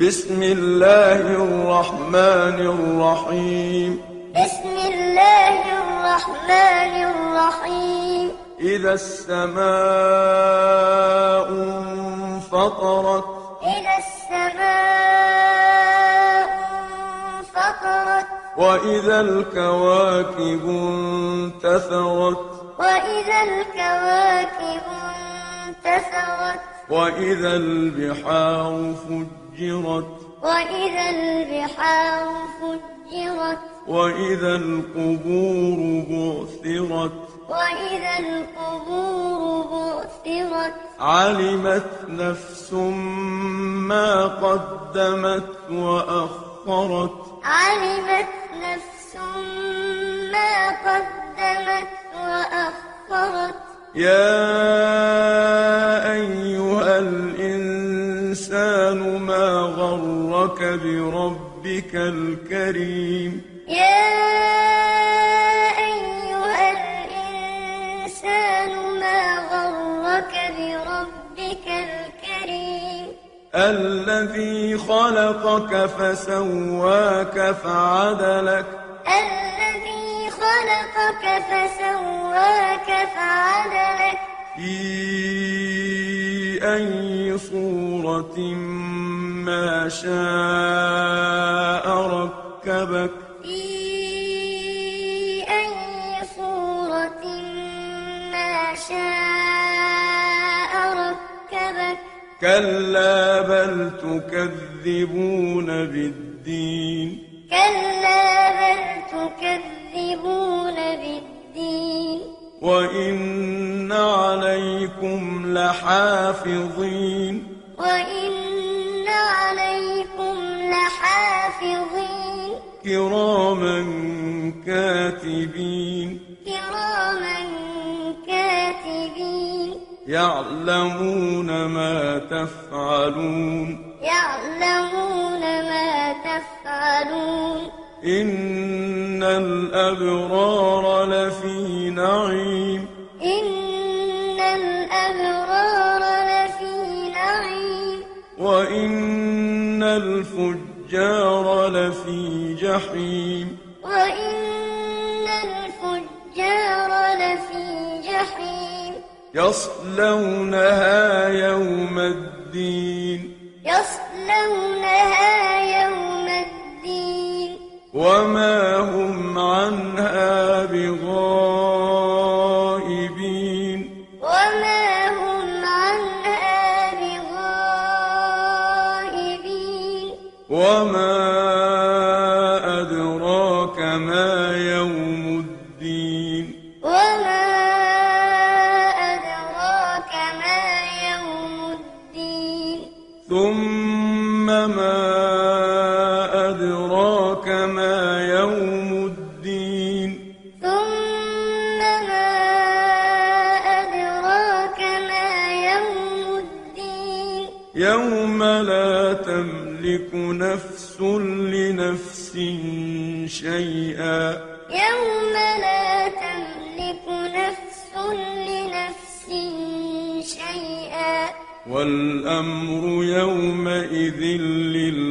بسم الله الرحمن الرحيم بسم الله الرحمن الرحيم إذا السماء انفطرت إذا السماء انفطرت وإذا الكواكب انتثرت وإذا الكواكب انتثرت وإذا البحار فجرت وإذا البحار فجرت وإذا القبور بعثرت وإذا القبور بعثرت علمت نفس ما قدمت وأخرت علمت نفس ما قدمت وأخرت يا أيها الإنسان ما غرك بربك الكريم يا أيها الإنسان ما غرك بربك الكريم الذي خلقك فسواك فعدلك الذي خلقك فسواك فعدلك في أي صورة ما شاء ركبك في أي صورة ما شاء ركبك كلا بل تكذبون بالدين كلا بل تكذبون بالدين وإن عليكم لحافظين وإن عليكم لحافظين كراما كاتبين كراما كاتبين يعلمون ما تفعلون يعلمون ما تفعلون إن الأبرار لفي نعيم إن الأبرار لفي نعيم وإن الفجار لفي جحيم وإن الفجار لفي جحيم يصلونها يوم الدين يصلونها يوم الدين وما هم عنها بغائبين وما هم عنها بغائبين وما أدراك ما يوم الدين وما أدراك ما يوم الدين ثم ما أدراك ما يوم الدين ثم ما أدراك ما يوم الدين يوم لا تملك نفس لنفس شيئا يوم لا تملك نفس لنفس شيئا والأمر يومئذ لله